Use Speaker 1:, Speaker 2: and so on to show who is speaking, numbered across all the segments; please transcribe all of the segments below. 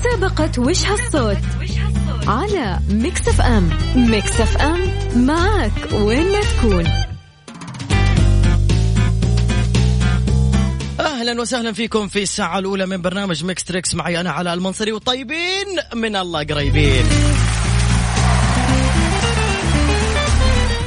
Speaker 1: مسابقة وش هالصوت على ميكس اف ام ميكس اف ام معك وين ما تكون
Speaker 2: اهلا وسهلا فيكم في الساعة الأولى من برنامج ميكس تريكس معي أنا علاء المنصري والطيبين من الله قريبين.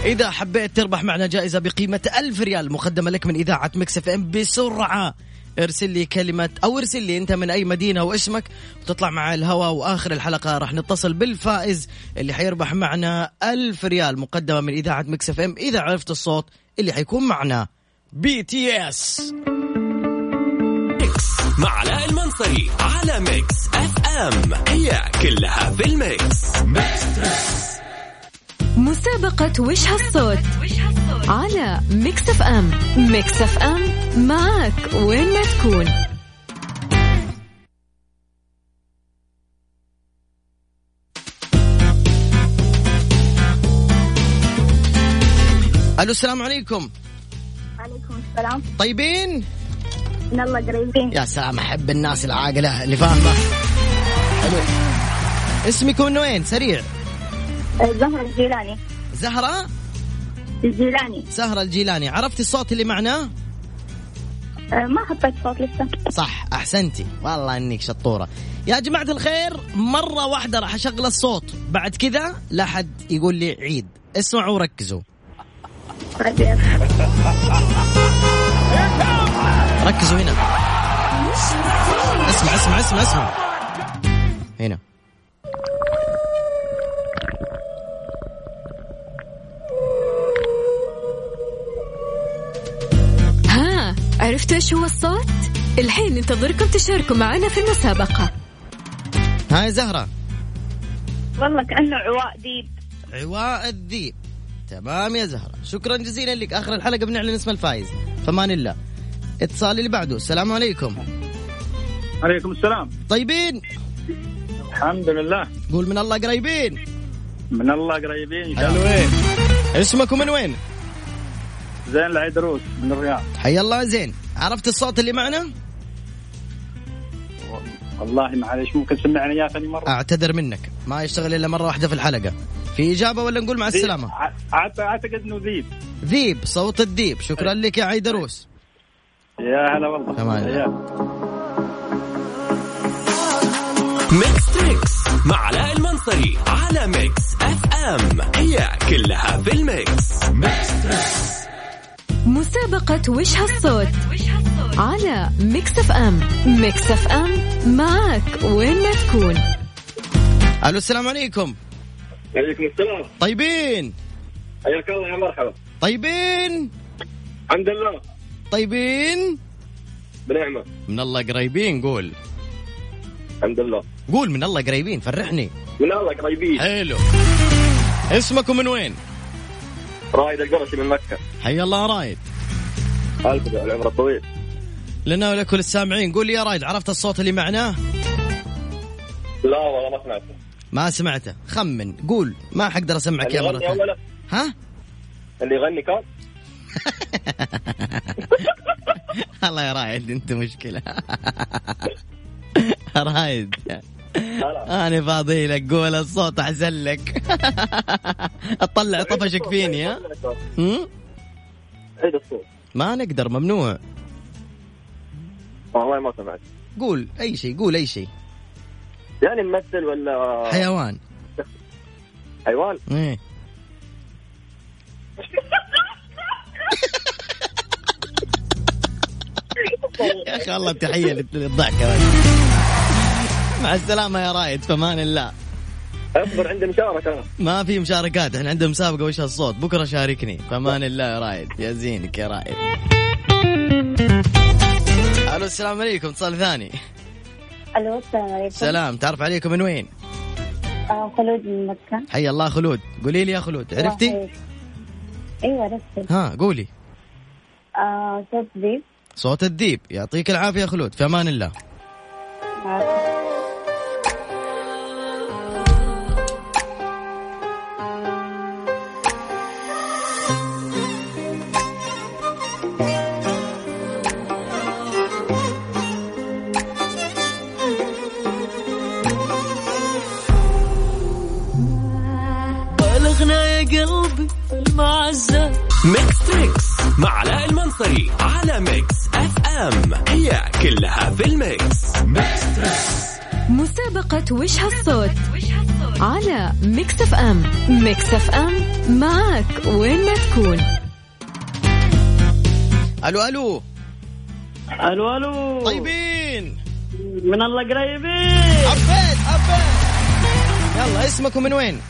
Speaker 2: إذا حبيت تربح معنا جائزة بقيمة ألف ريال مقدمة لك من إذاعة ميكس اف ام بسرعة ارسل لي كلمة أو ارسل لي أنت من أي مدينة واسمك وتطلع مع الهواء وآخر الحلقة راح نتصل بالفائز اللي حيربح معنا ألف ريال مقدمة من إذاعة ميكس اف ام إذا عرفت الصوت اللي حيكون معنا بي تي اس
Speaker 3: ميكس مع علاء المنصري على ميكس اف ام هي كلها في الميكس
Speaker 1: مسابقة وش هالصوت على ميكس اف ام ميكس اف ام معك وين ما تكون
Speaker 2: الو السلام عليكم
Speaker 4: عليكم السلام
Speaker 2: طيبين
Speaker 4: من الله قريبين
Speaker 2: يا سلام احب الناس العاقله اللي فاهمه حلو اسمك من وين سريع
Speaker 4: زهرة آه، الجيلاني
Speaker 2: زهره
Speaker 4: الجيلاني
Speaker 2: زهره الجيلاني عرفتي الصوت اللي معناه
Speaker 4: آه، ما حطيت صوت لسه
Speaker 2: صح احسنتي والله انك شطوره يا جماعه الخير مره واحده راح اشغل الصوت بعد كذا لا حد يقول لي عيد اسمعوا وركزوا
Speaker 4: طيب.
Speaker 2: ركزوا هنا اسمع اسمع اسمع اسمع هنا
Speaker 1: ها عرفتوا ايش هو الصوت الحين ننتظركم تشاركوا معنا في المسابقة
Speaker 2: هاي زهره
Speaker 4: والله كأنه عواء ديب
Speaker 2: عواء الذيب تمام يا زهرة شكرا جزيلا لك آخر الحلقة بنعلن اسم الفائز فمان الله اتصال اللي بعده السلام عليكم
Speaker 5: عليكم السلام
Speaker 2: طيبين
Speaker 5: الحمد لله
Speaker 2: قول من الله قريبين
Speaker 5: من الله قريبين ان شاء الله
Speaker 2: حلوين اسمك ومن وين
Speaker 5: زين العيدروس من الرياض
Speaker 2: حي الله زين عرفت الصوت اللي معنا
Speaker 5: والله معلش ممكن تسمعني اياه ثاني مره
Speaker 2: اعتذر منك ما يشتغل الا مرة واحدة في الحلقة في إجابة ولا نقول مع السلامة
Speaker 5: ع- أعت- اعتقد انه ذيب
Speaker 2: ذيب صوت الذيب شكرا لك يا عيدروس
Speaker 5: يا هلا والله
Speaker 2: تمام.
Speaker 5: يا.
Speaker 3: ميكس تريكس مع علاء المنصري على ميكس اف ام هي كلها في الميكس
Speaker 1: مسابقة وش هالصوت على ميكس اف ام ميكس اف ام معك وين ما تكون
Speaker 2: الو السلام عليكم
Speaker 6: عليكم السلام
Speaker 2: طيبين
Speaker 6: حياك الله يا مرحبا
Speaker 2: طيبين
Speaker 6: الحمد لله
Speaker 2: طيبين
Speaker 6: بنعمه
Speaker 2: من الله قريبين قول
Speaker 6: الحمد لله
Speaker 2: قول من الله قريبين فرحني
Speaker 6: من الله قريبين
Speaker 2: حلو اسمك ومن وين؟
Speaker 6: رايد القرشي من مكه
Speaker 2: حيا الله رايد
Speaker 6: الف دع العمر الطويل
Speaker 2: لنا ولكل السامعين قول لي يا رايد عرفت الصوت اللي معناه؟
Speaker 6: لا والله ما سمعته
Speaker 2: ما سمعته خمن قول ما حقدر اسمعك
Speaker 6: اللي
Speaker 2: يا مرة
Speaker 6: يغني
Speaker 2: ثانية.
Speaker 6: اوله
Speaker 2: ها؟
Speaker 6: اللي يغني كان
Speaker 2: الله يا رايد انت مشكلة رايد
Speaker 6: هلا.
Speaker 2: انا فاضي لك قول الصوت احسن لك اطلع طفشك فيني ها؟ هم؟
Speaker 6: عيد الصوت
Speaker 2: ما نقدر ممنوع
Speaker 6: والله ما سمعت
Speaker 2: قول اي شيء قول اي شيء
Speaker 6: يعني ممثل ولا
Speaker 2: حيوان
Speaker 6: حيوان
Speaker 2: ايه يا اخي والله تحيه لل- للضحكه بس. مع السلامه يا رايد فمان الله
Speaker 6: اصبر عندي مشاركه انا
Speaker 2: ما في مشاركات احنا عندنا مسابقه وش الصوت بكره شاركني فمان الله يا رايد يا زينك يا رايد الو السلام عليكم اتصال ثاني
Speaker 4: الو السلام عليكم
Speaker 2: سلام تعرف عليكم من وين
Speaker 4: آه، خلود من مكة
Speaker 2: حي الله خلود قولي لي يا خلود عرفتي
Speaker 4: الله يحييك. ايوه عرفت
Speaker 2: ها قولي
Speaker 4: آه، صوت ذيب
Speaker 2: صوت الذيب يعطيك العافيه يا خلود في امان الله
Speaker 4: آه،
Speaker 7: الغنى يا قلبي المعزة
Speaker 3: ميكس تريكس مع علاء المنصري على ميكس اف ام هي كلها في الميكس
Speaker 1: مسابقة وش هالصوت على ميكس اف ام ميكس اف ام معك وين ما تكون
Speaker 2: الو الو
Speaker 8: الو الو
Speaker 2: طيب. طيبين
Speaker 8: من الله قريبين
Speaker 2: عبيد عبيد يلا اسمك ومن وين؟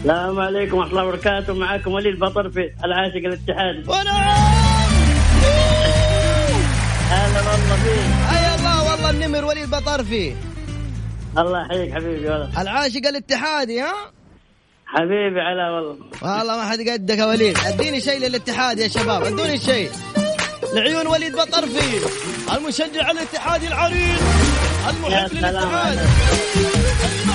Speaker 8: السلام عليكم ورحمه الله وبركاته معاكم وليد بطرفي العاشق الاتحاد هلا والله فيك
Speaker 2: اي الله والله النمر وليد بطرفي
Speaker 8: الله يحييك حبيبي والله
Speaker 2: العاشق الاتحادي ها؟
Speaker 8: حبيبي علا والله
Speaker 2: والله ما حد قدك يا وليد اديني شيء للاتحاد يا شباب ادوني شيء لعيون وليد بطرفي المشجع الاتحادي العريض
Speaker 8: يا
Speaker 2: المحب
Speaker 8: سلام
Speaker 2: للاتحاد
Speaker 8: عليك.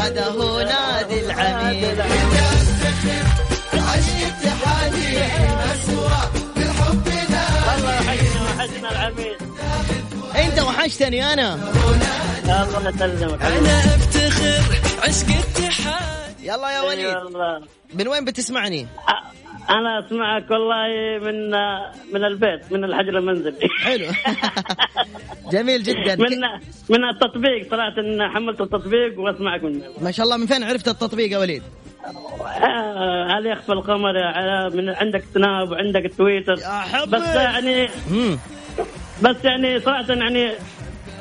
Speaker 2: هذا هو نادي العميد
Speaker 8: الله يحيينا وحشنا العميد
Speaker 2: انت وحشتني انا
Speaker 8: الله يسلمك حبيبي
Speaker 2: يلا يا
Speaker 8: أي
Speaker 2: وليد
Speaker 8: والله.
Speaker 2: من وين بتسمعني؟
Speaker 8: أ- انا اسمعك والله من من البيت من الحجر المنزلي
Speaker 2: حلو جميل جدا
Speaker 8: من من التطبيق طلعت ان حملت التطبيق واسمعك منه
Speaker 2: ما شاء الله من فين عرفت التطبيق يا وليد؟
Speaker 8: آه، على يخفى القمر يا علاء من عندك سناب وعندك تويتر
Speaker 2: يا حبي.
Speaker 8: بس يعني
Speaker 2: امم
Speaker 8: بس يعني صراحه يعني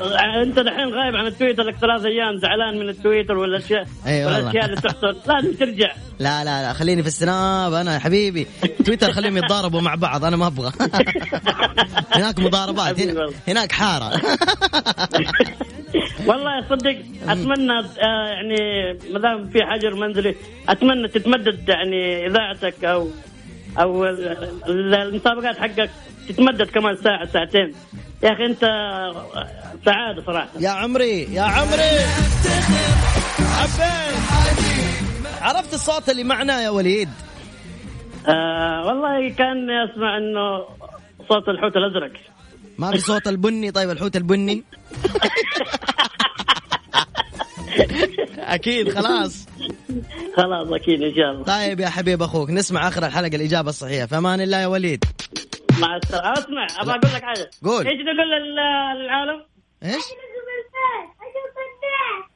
Speaker 8: آه، انت الحين غايب عن التويتر لك ثلاث ايام زعلان من التويتر والاشياء
Speaker 2: أي والله.
Speaker 8: والاشياء اللي تحصل لازم ترجع
Speaker 2: لا لا لا خليني في السناب انا يا حبيبي تويتر خليهم يتضاربوا مع بعض انا ما ابغى هناك مضاربات
Speaker 8: حبيبي
Speaker 2: هنا
Speaker 8: والله.
Speaker 2: هناك حاره
Speaker 8: والله صدق اتمنى آه، يعني ما دام في حجر منزلي اتمنى تتمدد يعني اذاعتك او او ال- ال- المسابقات حقك تتمدد كمان ساعه ساعتين يا اخي انت سعاده صراحه
Speaker 2: يا عمري يا عمري عبيد عرفت الصوت اللي معنا يا وليد
Speaker 8: آه والله كان اسمع انه صوت الحوت الازرق
Speaker 2: ما في صوت البني طيب الحوت البني اكيد خلاص
Speaker 8: خلاص اكيد ان شاء الله
Speaker 2: طيب يا حبيب اخوك نسمع اخر الحلقه الاجابه الصحيحه فمان الله يا وليد
Speaker 8: مع السلامه اسمع ابغى اقول لك حاجه
Speaker 2: قول.
Speaker 8: ايش نقول لل- للعالم؟
Speaker 2: ايش؟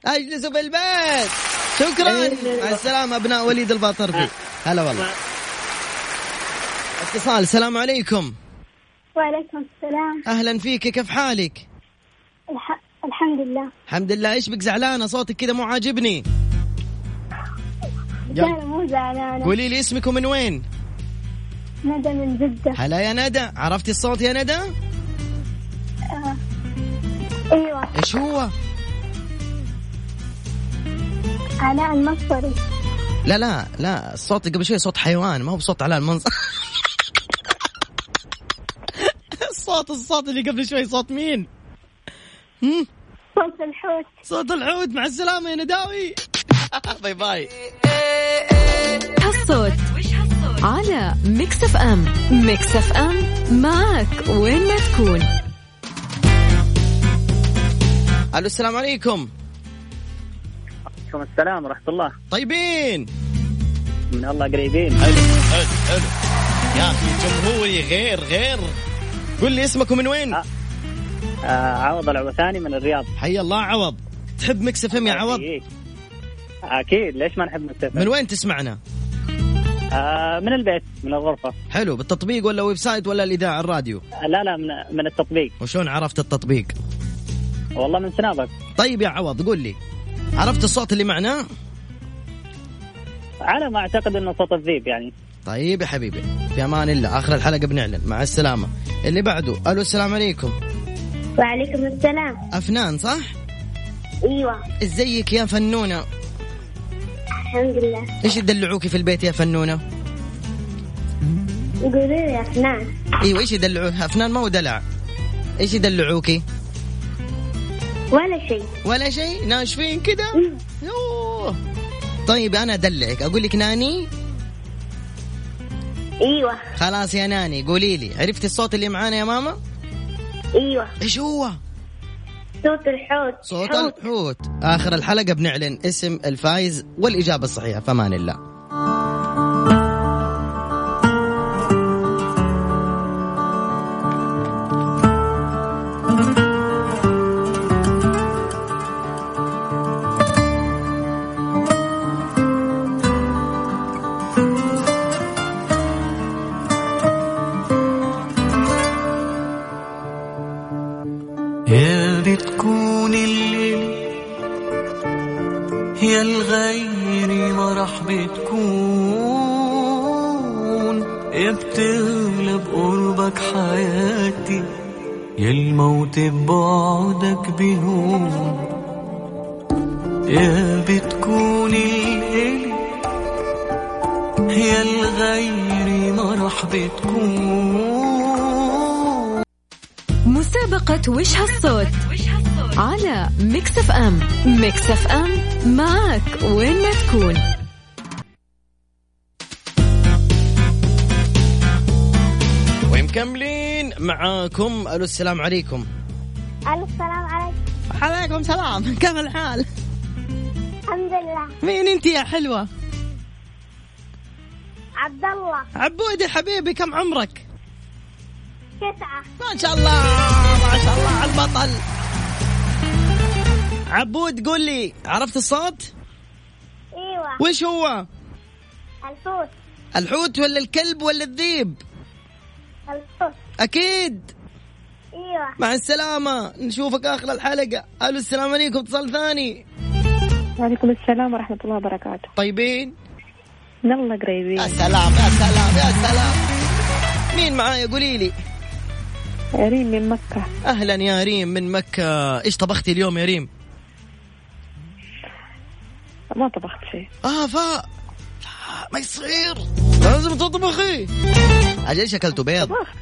Speaker 2: اجلسوا بالبيت شكرا مع السلامه ابناء وليد الباطرفي هلا والله اتصال السلام عليكم
Speaker 4: وعليكم السلام
Speaker 2: اهلا فيك كيف حالك؟
Speaker 4: الح... الحمد لله
Speaker 2: الحمد لله ايش بك زعلانه صوتك كذا مو عاجبني يلا.
Speaker 4: أنا مو زعلانة
Speaker 2: قولي لي اسمك ومن وين؟
Speaker 4: ندى من جدة
Speaker 2: هلا يا ندى عرفتي الصوت يا ندى؟
Speaker 4: آه. أيوة
Speaker 2: ايش هو؟
Speaker 4: علاء المصري
Speaker 2: لا لا لا الصوت قبل شوي صوت حيوان ما هو بصوت علاء المنصري الصوت الصوت اللي قبل شوي صوت مين؟ هم؟
Speaker 4: صوت الحوت
Speaker 2: صوت الحوت مع السلامة يا نداوي باي باي
Speaker 1: هالصوت على ميكس اف ام ميكس اف ام معك وين ما تكون
Speaker 2: الو السلام عليكم
Speaker 8: عليكم السلام ورحمه الله
Speaker 2: طيبين
Speaker 8: من الله قريبين
Speaker 2: يا اخي جمهوري غير غير قل لي اسمك ومن وين؟
Speaker 8: آه. عوض العوثاني من الرياض
Speaker 2: حي الله عوض تحب ميكس اف ام يا عوض؟
Speaker 8: طيب. اكيد ليش ما نحب
Speaker 2: من
Speaker 8: نستفيد
Speaker 2: وين تسمعنا؟
Speaker 8: آه، من البيت من الغرفه
Speaker 2: حلو بالتطبيق ولا ويب سايت ولا الاذاعه الراديو؟
Speaker 8: لا لا من, من التطبيق
Speaker 2: وشلون عرفت التطبيق؟
Speaker 8: والله من سنابك
Speaker 2: طيب يا عوض قل لي عرفت الصوت اللي معنا؟
Speaker 8: على ما اعتقد انه صوت الذيب يعني
Speaker 2: طيب يا حبيبي في امان الله اخر الحلقه بنعلن مع السلامه اللي بعده الو السلام عليكم
Speaker 4: وعليكم السلام
Speaker 2: افنان صح؟
Speaker 4: أيوة
Speaker 2: ازيك يا فنونه؟
Speaker 4: الحمد لله
Speaker 2: ايش يدلعوكي في البيت يا فنونه؟
Speaker 4: قولوا لي يا فنان
Speaker 2: ايوه ايش يدلعوها؟ افنان ما هو دلع ايش يدلعوكي؟
Speaker 4: ولا شيء
Speaker 2: ولا شيء ناشفين كده؟ يوه. اوه طيب انا ادلعك اقول لك ناني
Speaker 4: ايوه
Speaker 2: خلاص يا ناني قولي لي عرفتي الصوت اللي معانا يا ماما
Speaker 4: ايوه
Speaker 2: ايش هو
Speaker 4: صوت الحوت
Speaker 2: صوت
Speaker 4: حوت.
Speaker 2: الحوت اخر الحلقه بنعلن اسم الفايز والاجابه الصحيحه فمان الله
Speaker 9: يا بتكون الليل يا الغير ما راح بتكون يا بتغلب قربك حياتي يا الموت ببعدك بيهون يا بتكون الليل يا الغير ما راح بتكون
Speaker 1: مسابقة وش هالصوت على ميكس اف ام ميكس اف ام معك وين ما تكون
Speaker 2: ومكملين معاكم الو السلام عليكم
Speaker 4: الف سلام عليك
Speaker 2: عليكم سلام كيف الحال
Speaker 4: الحمد لله
Speaker 2: مين انت يا حلوه
Speaker 4: عبد الله
Speaker 2: عبودي حبيبي كم عمرك
Speaker 4: تسعة
Speaker 2: ما شاء الله ما شاء الله على البطل عبود قول لي عرفت الصوت
Speaker 4: ايوه
Speaker 2: وش هو
Speaker 4: الحوت
Speaker 2: الحوت ولا الكلب ولا الذيب
Speaker 4: الحوت
Speaker 2: اكيد
Speaker 4: ايوه
Speaker 2: مع السلامه نشوفك اخر الحلقه الو السلام عليكم اتصال ثاني
Speaker 10: وعليكم السلام ورحمة الله وبركاته
Speaker 2: طيبين
Speaker 10: يلا قريبين
Speaker 2: يا سلام يا سلام يا سلام مين معايا قولي لي
Speaker 10: ريم من مكة
Speaker 2: اهلا يا ريم من مكه ايش طبختي اليوم يا ريم
Speaker 10: ما طبخت شيء
Speaker 2: اه فا لا، ما يصير لازم تطبخي اجل شكلته بيض
Speaker 10: طبخت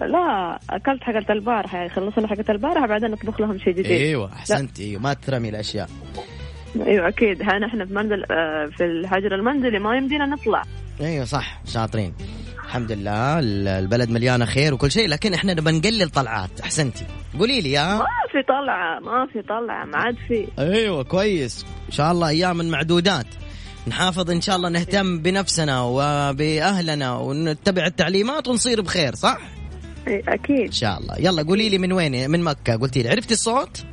Speaker 10: لا أكلت حقة البارحة يعني خلصنا حقة البارحة بعدين نطبخ لهم شيء جديد
Speaker 2: ايوه احسنت ايوه ما ترمي الاشياء
Speaker 10: لا. أيوة أكيد ها نحن في منزل آه، في الهجر المنزلي ما يمدينا نطلع
Speaker 2: ايوه صح شاطرين الحمد لله ال- البلد مليانه خير وكل شيء لكن احنا نبى نقلل طلعات احسنتي قولي لي يا
Speaker 10: ما في طلعة ما في طلعة ما عاد في
Speaker 2: ايوه كويس ان شاء الله ايام معدودات نحافظ ان شاء الله نهتم بنفسنا وباهلنا ونتبع التعليمات ونصير بخير صح
Speaker 10: أي-
Speaker 2: ان
Speaker 10: أكيد
Speaker 2: شاء الله يلا قولي لي من وين من مكه قلتي لي عرفتي الصوت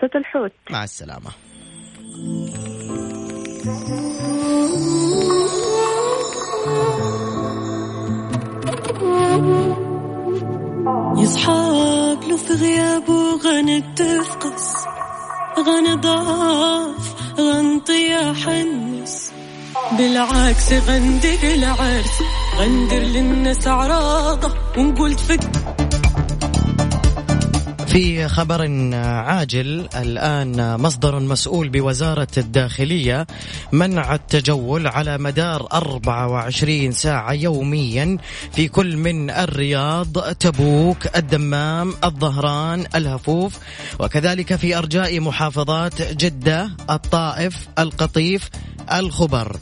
Speaker 10: صوت الحوت
Speaker 2: مع السلامه
Speaker 7: يصحاب له في غيابه غنى تفقس غنى ضعف غنطي يا حنس بالعكس غندر العرس غندر للناس عراضة ونقول تفك
Speaker 2: في خبر عاجل الآن مصدر مسؤول بوزارة الداخلية منع التجول على مدار 24 ساعة يوميا في كل من الرياض تبوك الدمام الظهران الهفوف وكذلك في أرجاء محافظات جدة الطائف القطيف الخبر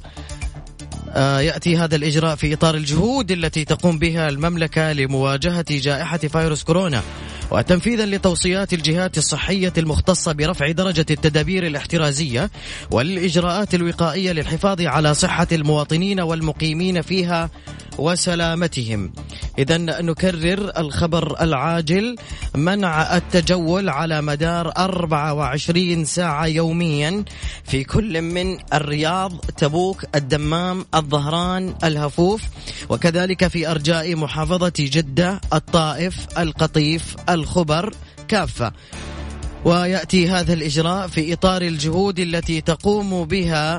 Speaker 2: آه، ياتي هذا الاجراء في اطار الجهود التي تقوم بها المملكه لمواجهه جائحه فيروس كورونا وتنفيذا لتوصيات الجهات الصحيه المختصه برفع درجه التدابير الاحترازيه والاجراءات الوقائيه للحفاظ على صحه المواطنين والمقيمين فيها وسلامتهم. اذا نكرر الخبر العاجل منع التجول على مدار 24 ساعه يوميا في كل من الرياض، تبوك، الدمام، الظهران، الهفوف وكذلك في ارجاء محافظه جده، الطائف، القطيف، الخبر كافه. وياتي هذا الاجراء في اطار الجهود التي تقوم بها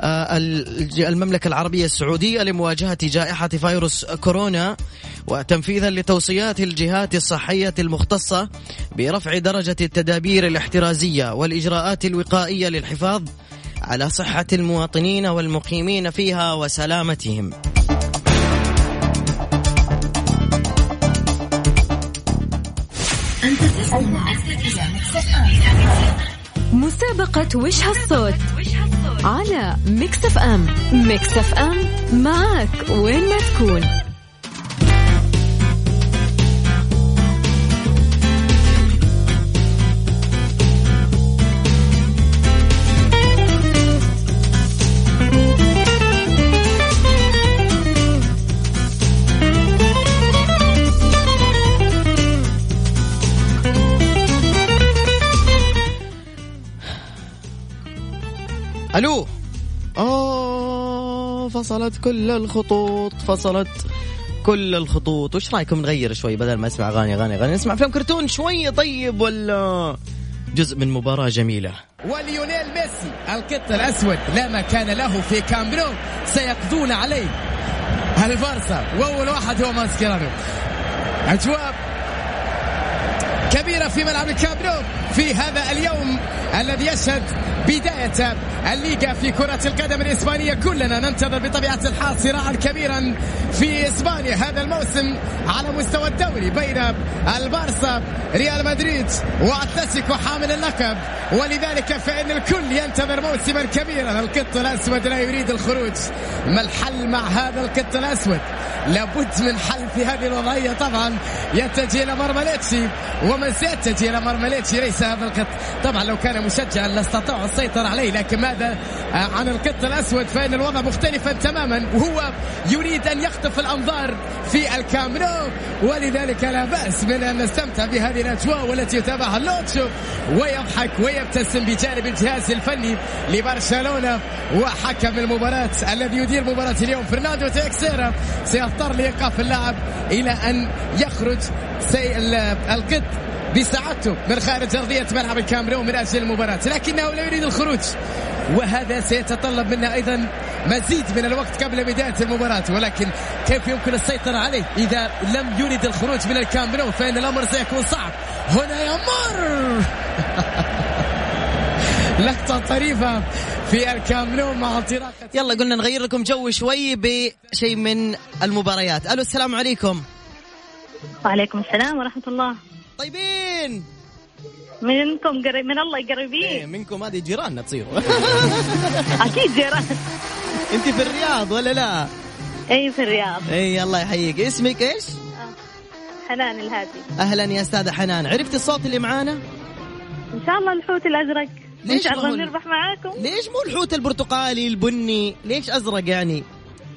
Speaker 2: آه، الج- المملكة العربية السعودية لمواجهة جائحة فيروس كورونا وتنفيذا لتوصيات الجهات الصحية المختصة برفع درجة التدابير الاحترازية والإجراءات الوقائية للحفاظ على صحة المواطنين والمقيمين فيها وسلامتهم.
Speaker 1: مسابقة وش هالصوت على ميكس اف ام ميكس اف ام معك وين ما تكون
Speaker 2: الو اوه آه، فصلت كل الخطوط فصلت كل الخطوط وش رايكم نغير شوي بدل ما اسمع اغاني اغاني اغاني نسمع فيلم كرتون شوي طيب ولا جزء من مباراة جميلة
Speaker 11: وليونيل ميسي القط الأسود لا مكان له في كامب نو سيقضون عليه البارسا وأول واحد هو ماسكيرانو أجواء كبيرة في ملعب الكامب نو في هذا اليوم الذي يشهد بداية الليغا في كرة القدم الإسبانية كلنا ننتظر بطبيعة الحال صراعا كبيرا في إسبانيا هذا الموسم على مستوى الدوري بين البارسا ريال مدريد وأتلتيكو حامل اللقب ولذلك فإن الكل ينتظر موسما كبيرا القط الأسود لا يريد الخروج ما الحل مع هذا القط الأسود لابد من حل في هذه الوضعية طبعا يتجه إلى مرمى ليتشي ومن سيتجه إلى مرمى ليتشي ليس هذا القط طبعا لو كان مشجعا لاستطاع السيطرة عليه لكن ماذا عن القط الأسود فإن الوضع مختلفا تماما وهو يريد أن يخطف الأنظار في الكامرو ولذلك لا بأس من أن نستمتع بهذه الأجواء والتي يتابعها اللوتشو ويضحك ويبتسم بجانب الجهاز الفني لبرشلونة وحكم المباراة الذي يدير مباراة اليوم فرناندو تيكسيرا سيضطر لإيقاف اللاعب إلى أن يخرج سي القط بسعادته من خارج أرضية ملعب الكاميرون من أجل المباراة لكنه لا يريد الخروج وهذا سيتطلب منا أيضا مزيد من الوقت قبل بداية المباراة ولكن كيف يمكن السيطرة عليه إذا لم يرد الخروج من الكاميرون فإن الأمر سيكون صعب هنا يمر لقطة طريفة في الكاميرون مع انطلاقة
Speaker 2: يلا قلنا نغير لكم جو شوي بشيء من المباريات الو السلام عليكم
Speaker 12: وعليكم السلام ورحمة الله
Speaker 2: طيبين
Speaker 12: منكم قريب من الله قريبين
Speaker 2: إيه، منكم هذه جيراننا تصيروا
Speaker 12: أكيد جيران
Speaker 2: انت في الرياض ولا لا
Speaker 12: أي إيه، في الرياض
Speaker 2: اي الله يحييك اسمك ايش
Speaker 12: حنان الهادي
Speaker 2: اهلا يا استاذه حنان عرفت الصوت اللي معانا
Speaker 12: إن شاء الله الحوت الأزرق إن
Speaker 2: ليش
Speaker 12: شاء الله
Speaker 2: بقول؟
Speaker 12: نربح معاكم
Speaker 2: ليش مو الحوت البرتقالي البني ليش ازرق يعني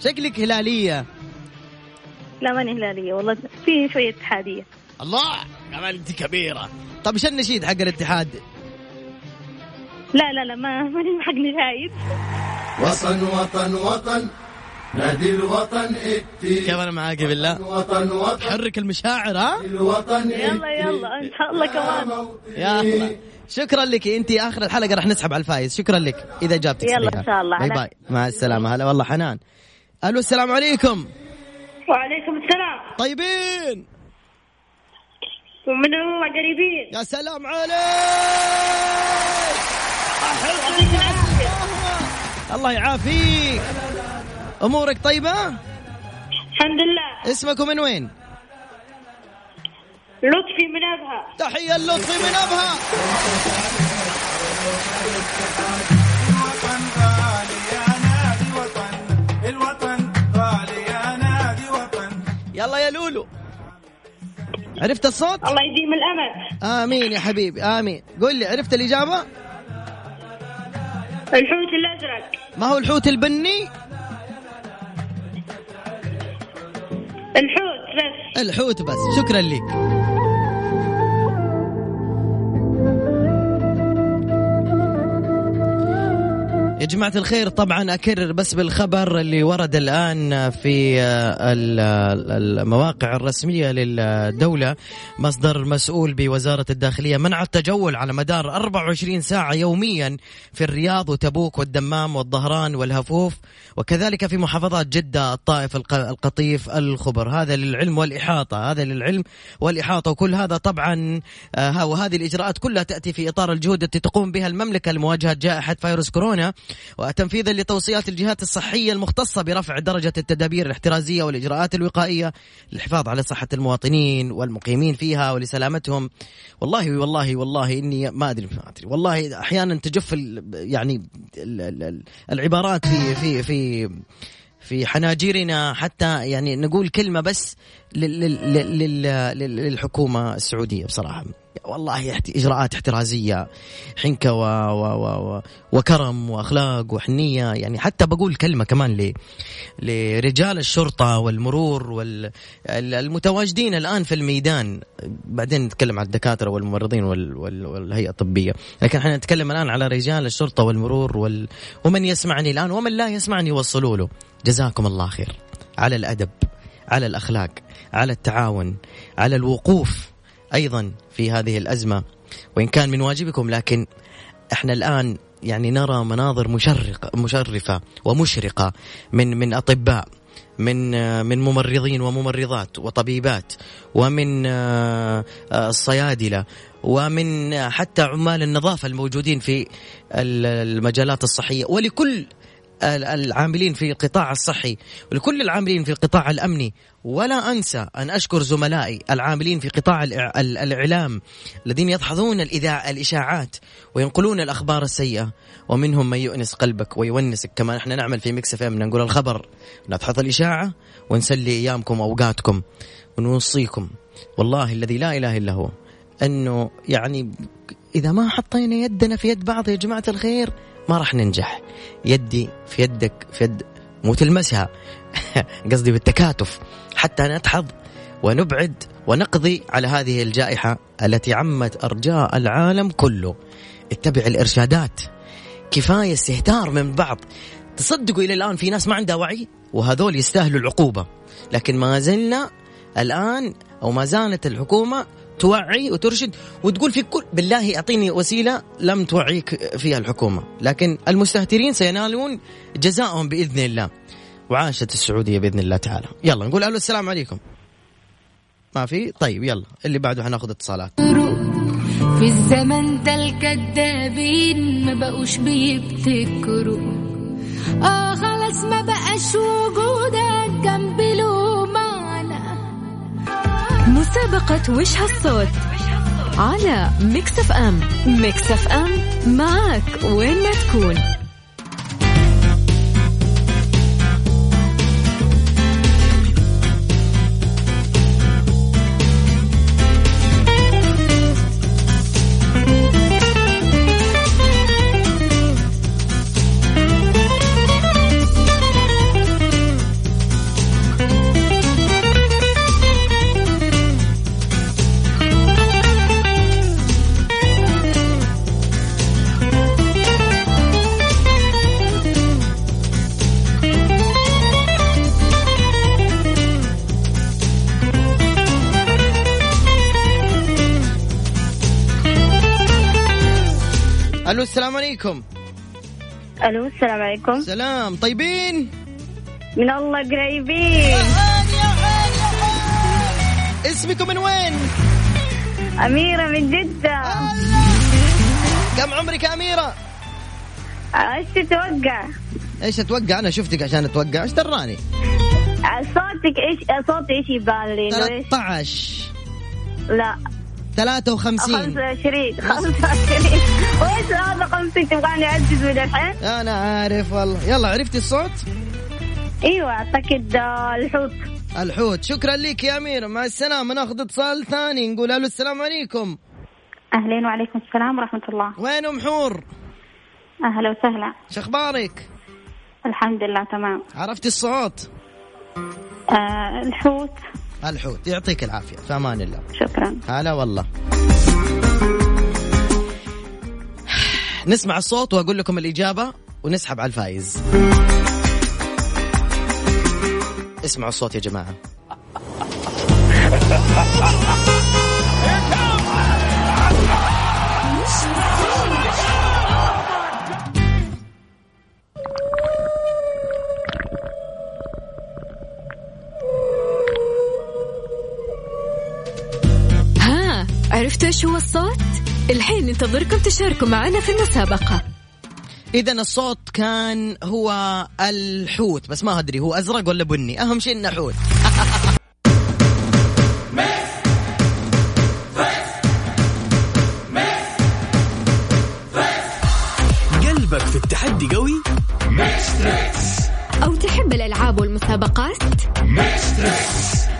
Speaker 2: شكلك هلاليه
Speaker 12: لا ماني هلالية والله في شوية اتحادية
Speaker 2: الله كمان انت كبيره طب شو طيب، النشيد حق الاتحاد
Speaker 12: لا لا لا ما ماني حق نشايد
Speaker 13: وطن وطن وطن نادي الوطن اتي
Speaker 2: كيف انا معاك بالله
Speaker 13: وطن وطن
Speaker 2: حرك المشاعر ها
Speaker 13: الوطن
Speaker 12: يلا يلا إن شاء الله كمان
Speaker 2: يا الله شكرا لك انت اخر الحلقه راح نسحب على الفايز شكرا لك اذا جابت
Speaker 12: يلا
Speaker 2: صحيحة.
Speaker 12: إن شاء الله.
Speaker 2: باي
Speaker 12: على-
Speaker 2: باي مع السلامه هلا والله حنان الو السلام عليكم
Speaker 14: وعليكم السلام
Speaker 2: طيبين
Speaker 14: ومن الله قريبين
Speaker 2: يا سلام عليك
Speaker 14: يعطيك العافية.
Speaker 2: الله يعافيك امورك طيبه
Speaker 14: الحمد لله
Speaker 2: اسمك ومن وين
Speaker 14: لطفي من ابها
Speaker 2: تحيه لطفي من ابها
Speaker 9: الوطن غالي يا نادي وطن
Speaker 2: يلا يا لولو عرفت الصوت
Speaker 14: الله يديم الامل
Speaker 2: امين يا حبيبي امين قل لي عرفت الاجابه
Speaker 14: الحوت الازرق
Speaker 2: ما هو الحوت البني
Speaker 14: الحوت بس
Speaker 2: الحوت بس شكرا لك يا جماعة الخير طبعا أكرر بس بالخبر اللي ورد الآن في آه، ال- ال- المواقع الرسمية للدولة مصدر مسؤول بوزارة الداخلية منع التجول على مدار 24 ساعة يوميا في الرياض وتبوك والدمام والظهران والهفوف وكذلك في محافظات جدة الطائف الق- القطيف الخبر هذا للعلم والإحاطة هذا للعلم والإحاطة وكل هذا طبعا آه، ها- وهذه الإجراءات كلها تأتي في إطار الجهود التي تقوم بها المملكة لمواجهة جائحة فيروس كورونا وتنفيذا لتوصيات الجهات الصحية المختصة برفع درجة التدابير الاحترازية والإجراءات الوقائية للحفاظ على صحة المواطنين والمقيمين فيها ولسلامتهم والله والله والله إني ما أدري ما أدري والله أحيانا تجف ال- يعني ال- ال- ال- العبارات في في في في حناجرنا حتى يعني نقول كلمة بس لل لل لل لل للحكومة السعودية بصراحة والله احت- إجراءات احترازية حنكة و و و و وكرم وأخلاق وحنية يعني حتى بقول كلمة كمان ل لرجال الشرطة والمرور والمتواجدين الآن في الميدان بعدين نتكلم عن الدكاترة والممرضين وال وال والهيئة الطبية لكن احنا نتكلم الآن على رجال الشرطة والمرور وال ومن يسمعني الآن ومن لا يسمعني وصلوا له جزاكم الله خير على الأدب على الأخلاق على التعاون على الوقوف أيضا في هذه الأزمة وإن كان من واجبكم لكن احنا الآن يعني نرى مناظر مشرقة مشرفة ومشرقة من من أطباء من آه، من ممرضين وممرضات وطبيبات ومن آه، آه، الصيادله ومن آه، حتى عمال النظافه الموجودين في ال- المجالات الصحيه ولكل ال- العاملين في القطاع الصحي ولكل العاملين في القطاع الامني ولا انسى ان اشكر زملائي العاملين في قطاع الإع- ال- الاعلام الذين يدحضون الاذاعه الاشاعات وينقلون الاخبار السيئه ومنهم من يؤنس قلبك ويونسك كما نحن نعمل في مكس اف ام نقول الخبر نبحث الاشاعه ونسلي ايامكم واوقاتكم ونوصيكم والله الذي لا اله الا هو انه يعني اذا ما حطينا يدنا في يد بعض يا جماعه الخير ما راح ننجح يدي في يدك في يد مو تلمسها قصدي بالتكاتف حتى نتحظ ونبعد ونقضي على هذه الجائحه التي عمت ارجاء العالم كله اتبع الارشادات كفايه استهتار من بعض تصدقوا الى الان في ناس ما عندها وعي وهذول يستاهلوا العقوبه لكن ما زلنا الان او ما زالت الحكومه توعي وترشد وتقول في كل بالله اعطيني وسيله لم توعيك فيها الحكومه، لكن المستهترين سينالون جزاءهم باذن الله. وعاشت السعوديه باذن الله تعالى. يلا نقول الو السلام عليكم. ما في؟ طيب يلا اللي بعده حناخذ اتصالات.
Speaker 15: في الزمن ده الكدابين ما بقوش بيبتكروا
Speaker 1: آه،
Speaker 15: اه خلاص ما بقاش وجودك جنب له معنى
Speaker 1: مسابقة وش هالصوت على ميكس اف ام ميكس اف ام معك وين ما تكون
Speaker 2: الو السلام عليكم.
Speaker 12: الو السلام عليكم
Speaker 2: سلام طيبين
Speaker 12: من الله قريبين
Speaker 2: اسمكم من وين؟
Speaker 12: أميرة من جدة
Speaker 2: كم عمرك يا أميرة؟
Speaker 12: ايش تتوقع؟
Speaker 2: ايش اتوقع انا شفتك عشان اتوقع ايش دراني؟
Speaker 12: صوتك ايش صوتي ايش يبان لي إنه إيش؟
Speaker 2: 13
Speaker 12: لا 25
Speaker 2: 53
Speaker 12: 25 وايش هذا 50 تبغاني اعزز من الحين؟
Speaker 2: انا عارف والله يلا عرفتي الصوت؟
Speaker 12: ايوه اعتقد آه، الحوت
Speaker 2: الحوت شكرا لك يا أميرة مع السلامة ناخذ اتصال ثاني نقول ألو السلام عليكم
Speaker 16: أهلين وعليكم السلام ورحمة الله
Speaker 2: وين أم حور؟
Speaker 16: أهلا وسهلا
Speaker 2: شخبارك؟
Speaker 16: الحمد لله تمام
Speaker 2: عرفتي الصوت؟
Speaker 16: آه الحوت
Speaker 2: الحوت يعطيك العافية في أمان الله
Speaker 16: شكرا
Speaker 2: هلا والله نسمع الصوت وأقول لكم الإجابة ونسحب على الفايز اسمعوا الصوت يا جماعة
Speaker 1: ها عرفتوا ايش هو الصوت؟ الحين ننتظركم تشاركوا معنا في المسابقة
Speaker 2: اذا الصوت كان هو الحوت بس ما ادري هو ازرق ولا بني اهم شيء انه حوت
Speaker 3: قلبك في التحدي قوي
Speaker 1: أو تحب الألعاب والمسابقات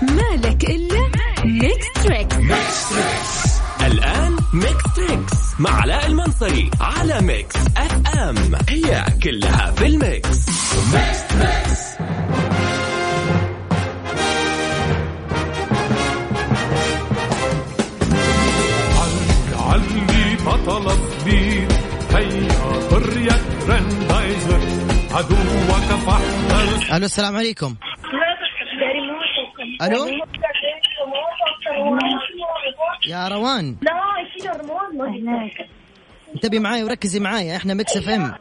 Speaker 1: مالك إلا ميكس تريكس
Speaker 3: الآن ميكس تريكس مع علاء المنصري على ميكس اف ام هي كلها في الميكس ميكس تريكس
Speaker 17: عندي بطل كبير هيا حرية رندايزر عدوك فاحذر
Speaker 2: الو السلام عليكم ألو؟ يا روان
Speaker 14: لا يشيل هرمون ما هناك
Speaker 2: انتبهي معاي وركزي معاي احنا ميكس اف ام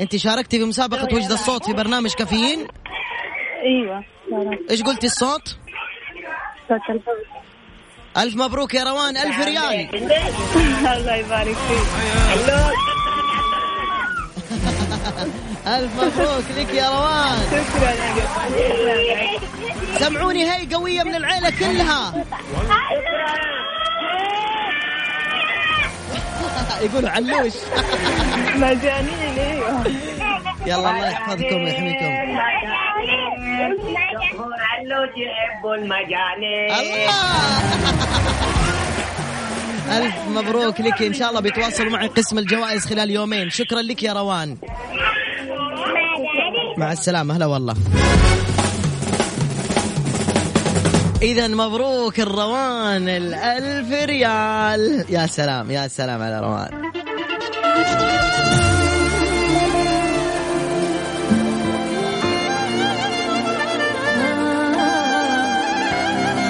Speaker 2: انت شاركتي في مسابقه وجد الصوت في برنامج كافيين
Speaker 10: ايوه
Speaker 2: ايش قلتي الصوت الف مبروك يا روان الف ريال
Speaker 10: الله يبارك فيك
Speaker 2: الف مبروك لك يا روان سمعوني هي قويه من العيله كلها يقولوا علوش
Speaker 10: مجانين ايوه
Speaker 2: يلا الله يحفظكم ويحميكم
Speaker 14: الجمهور علوش يحبوا المجانين
Speaker 2: الف مبروك لك ان شاء الله بيتواصلوا معي قسم الجوائز خلال يومين شكرا لك يا روان مع السلامه هلا والله إذا مبروك الروان الألف ريال يا سلام يا سلام على روان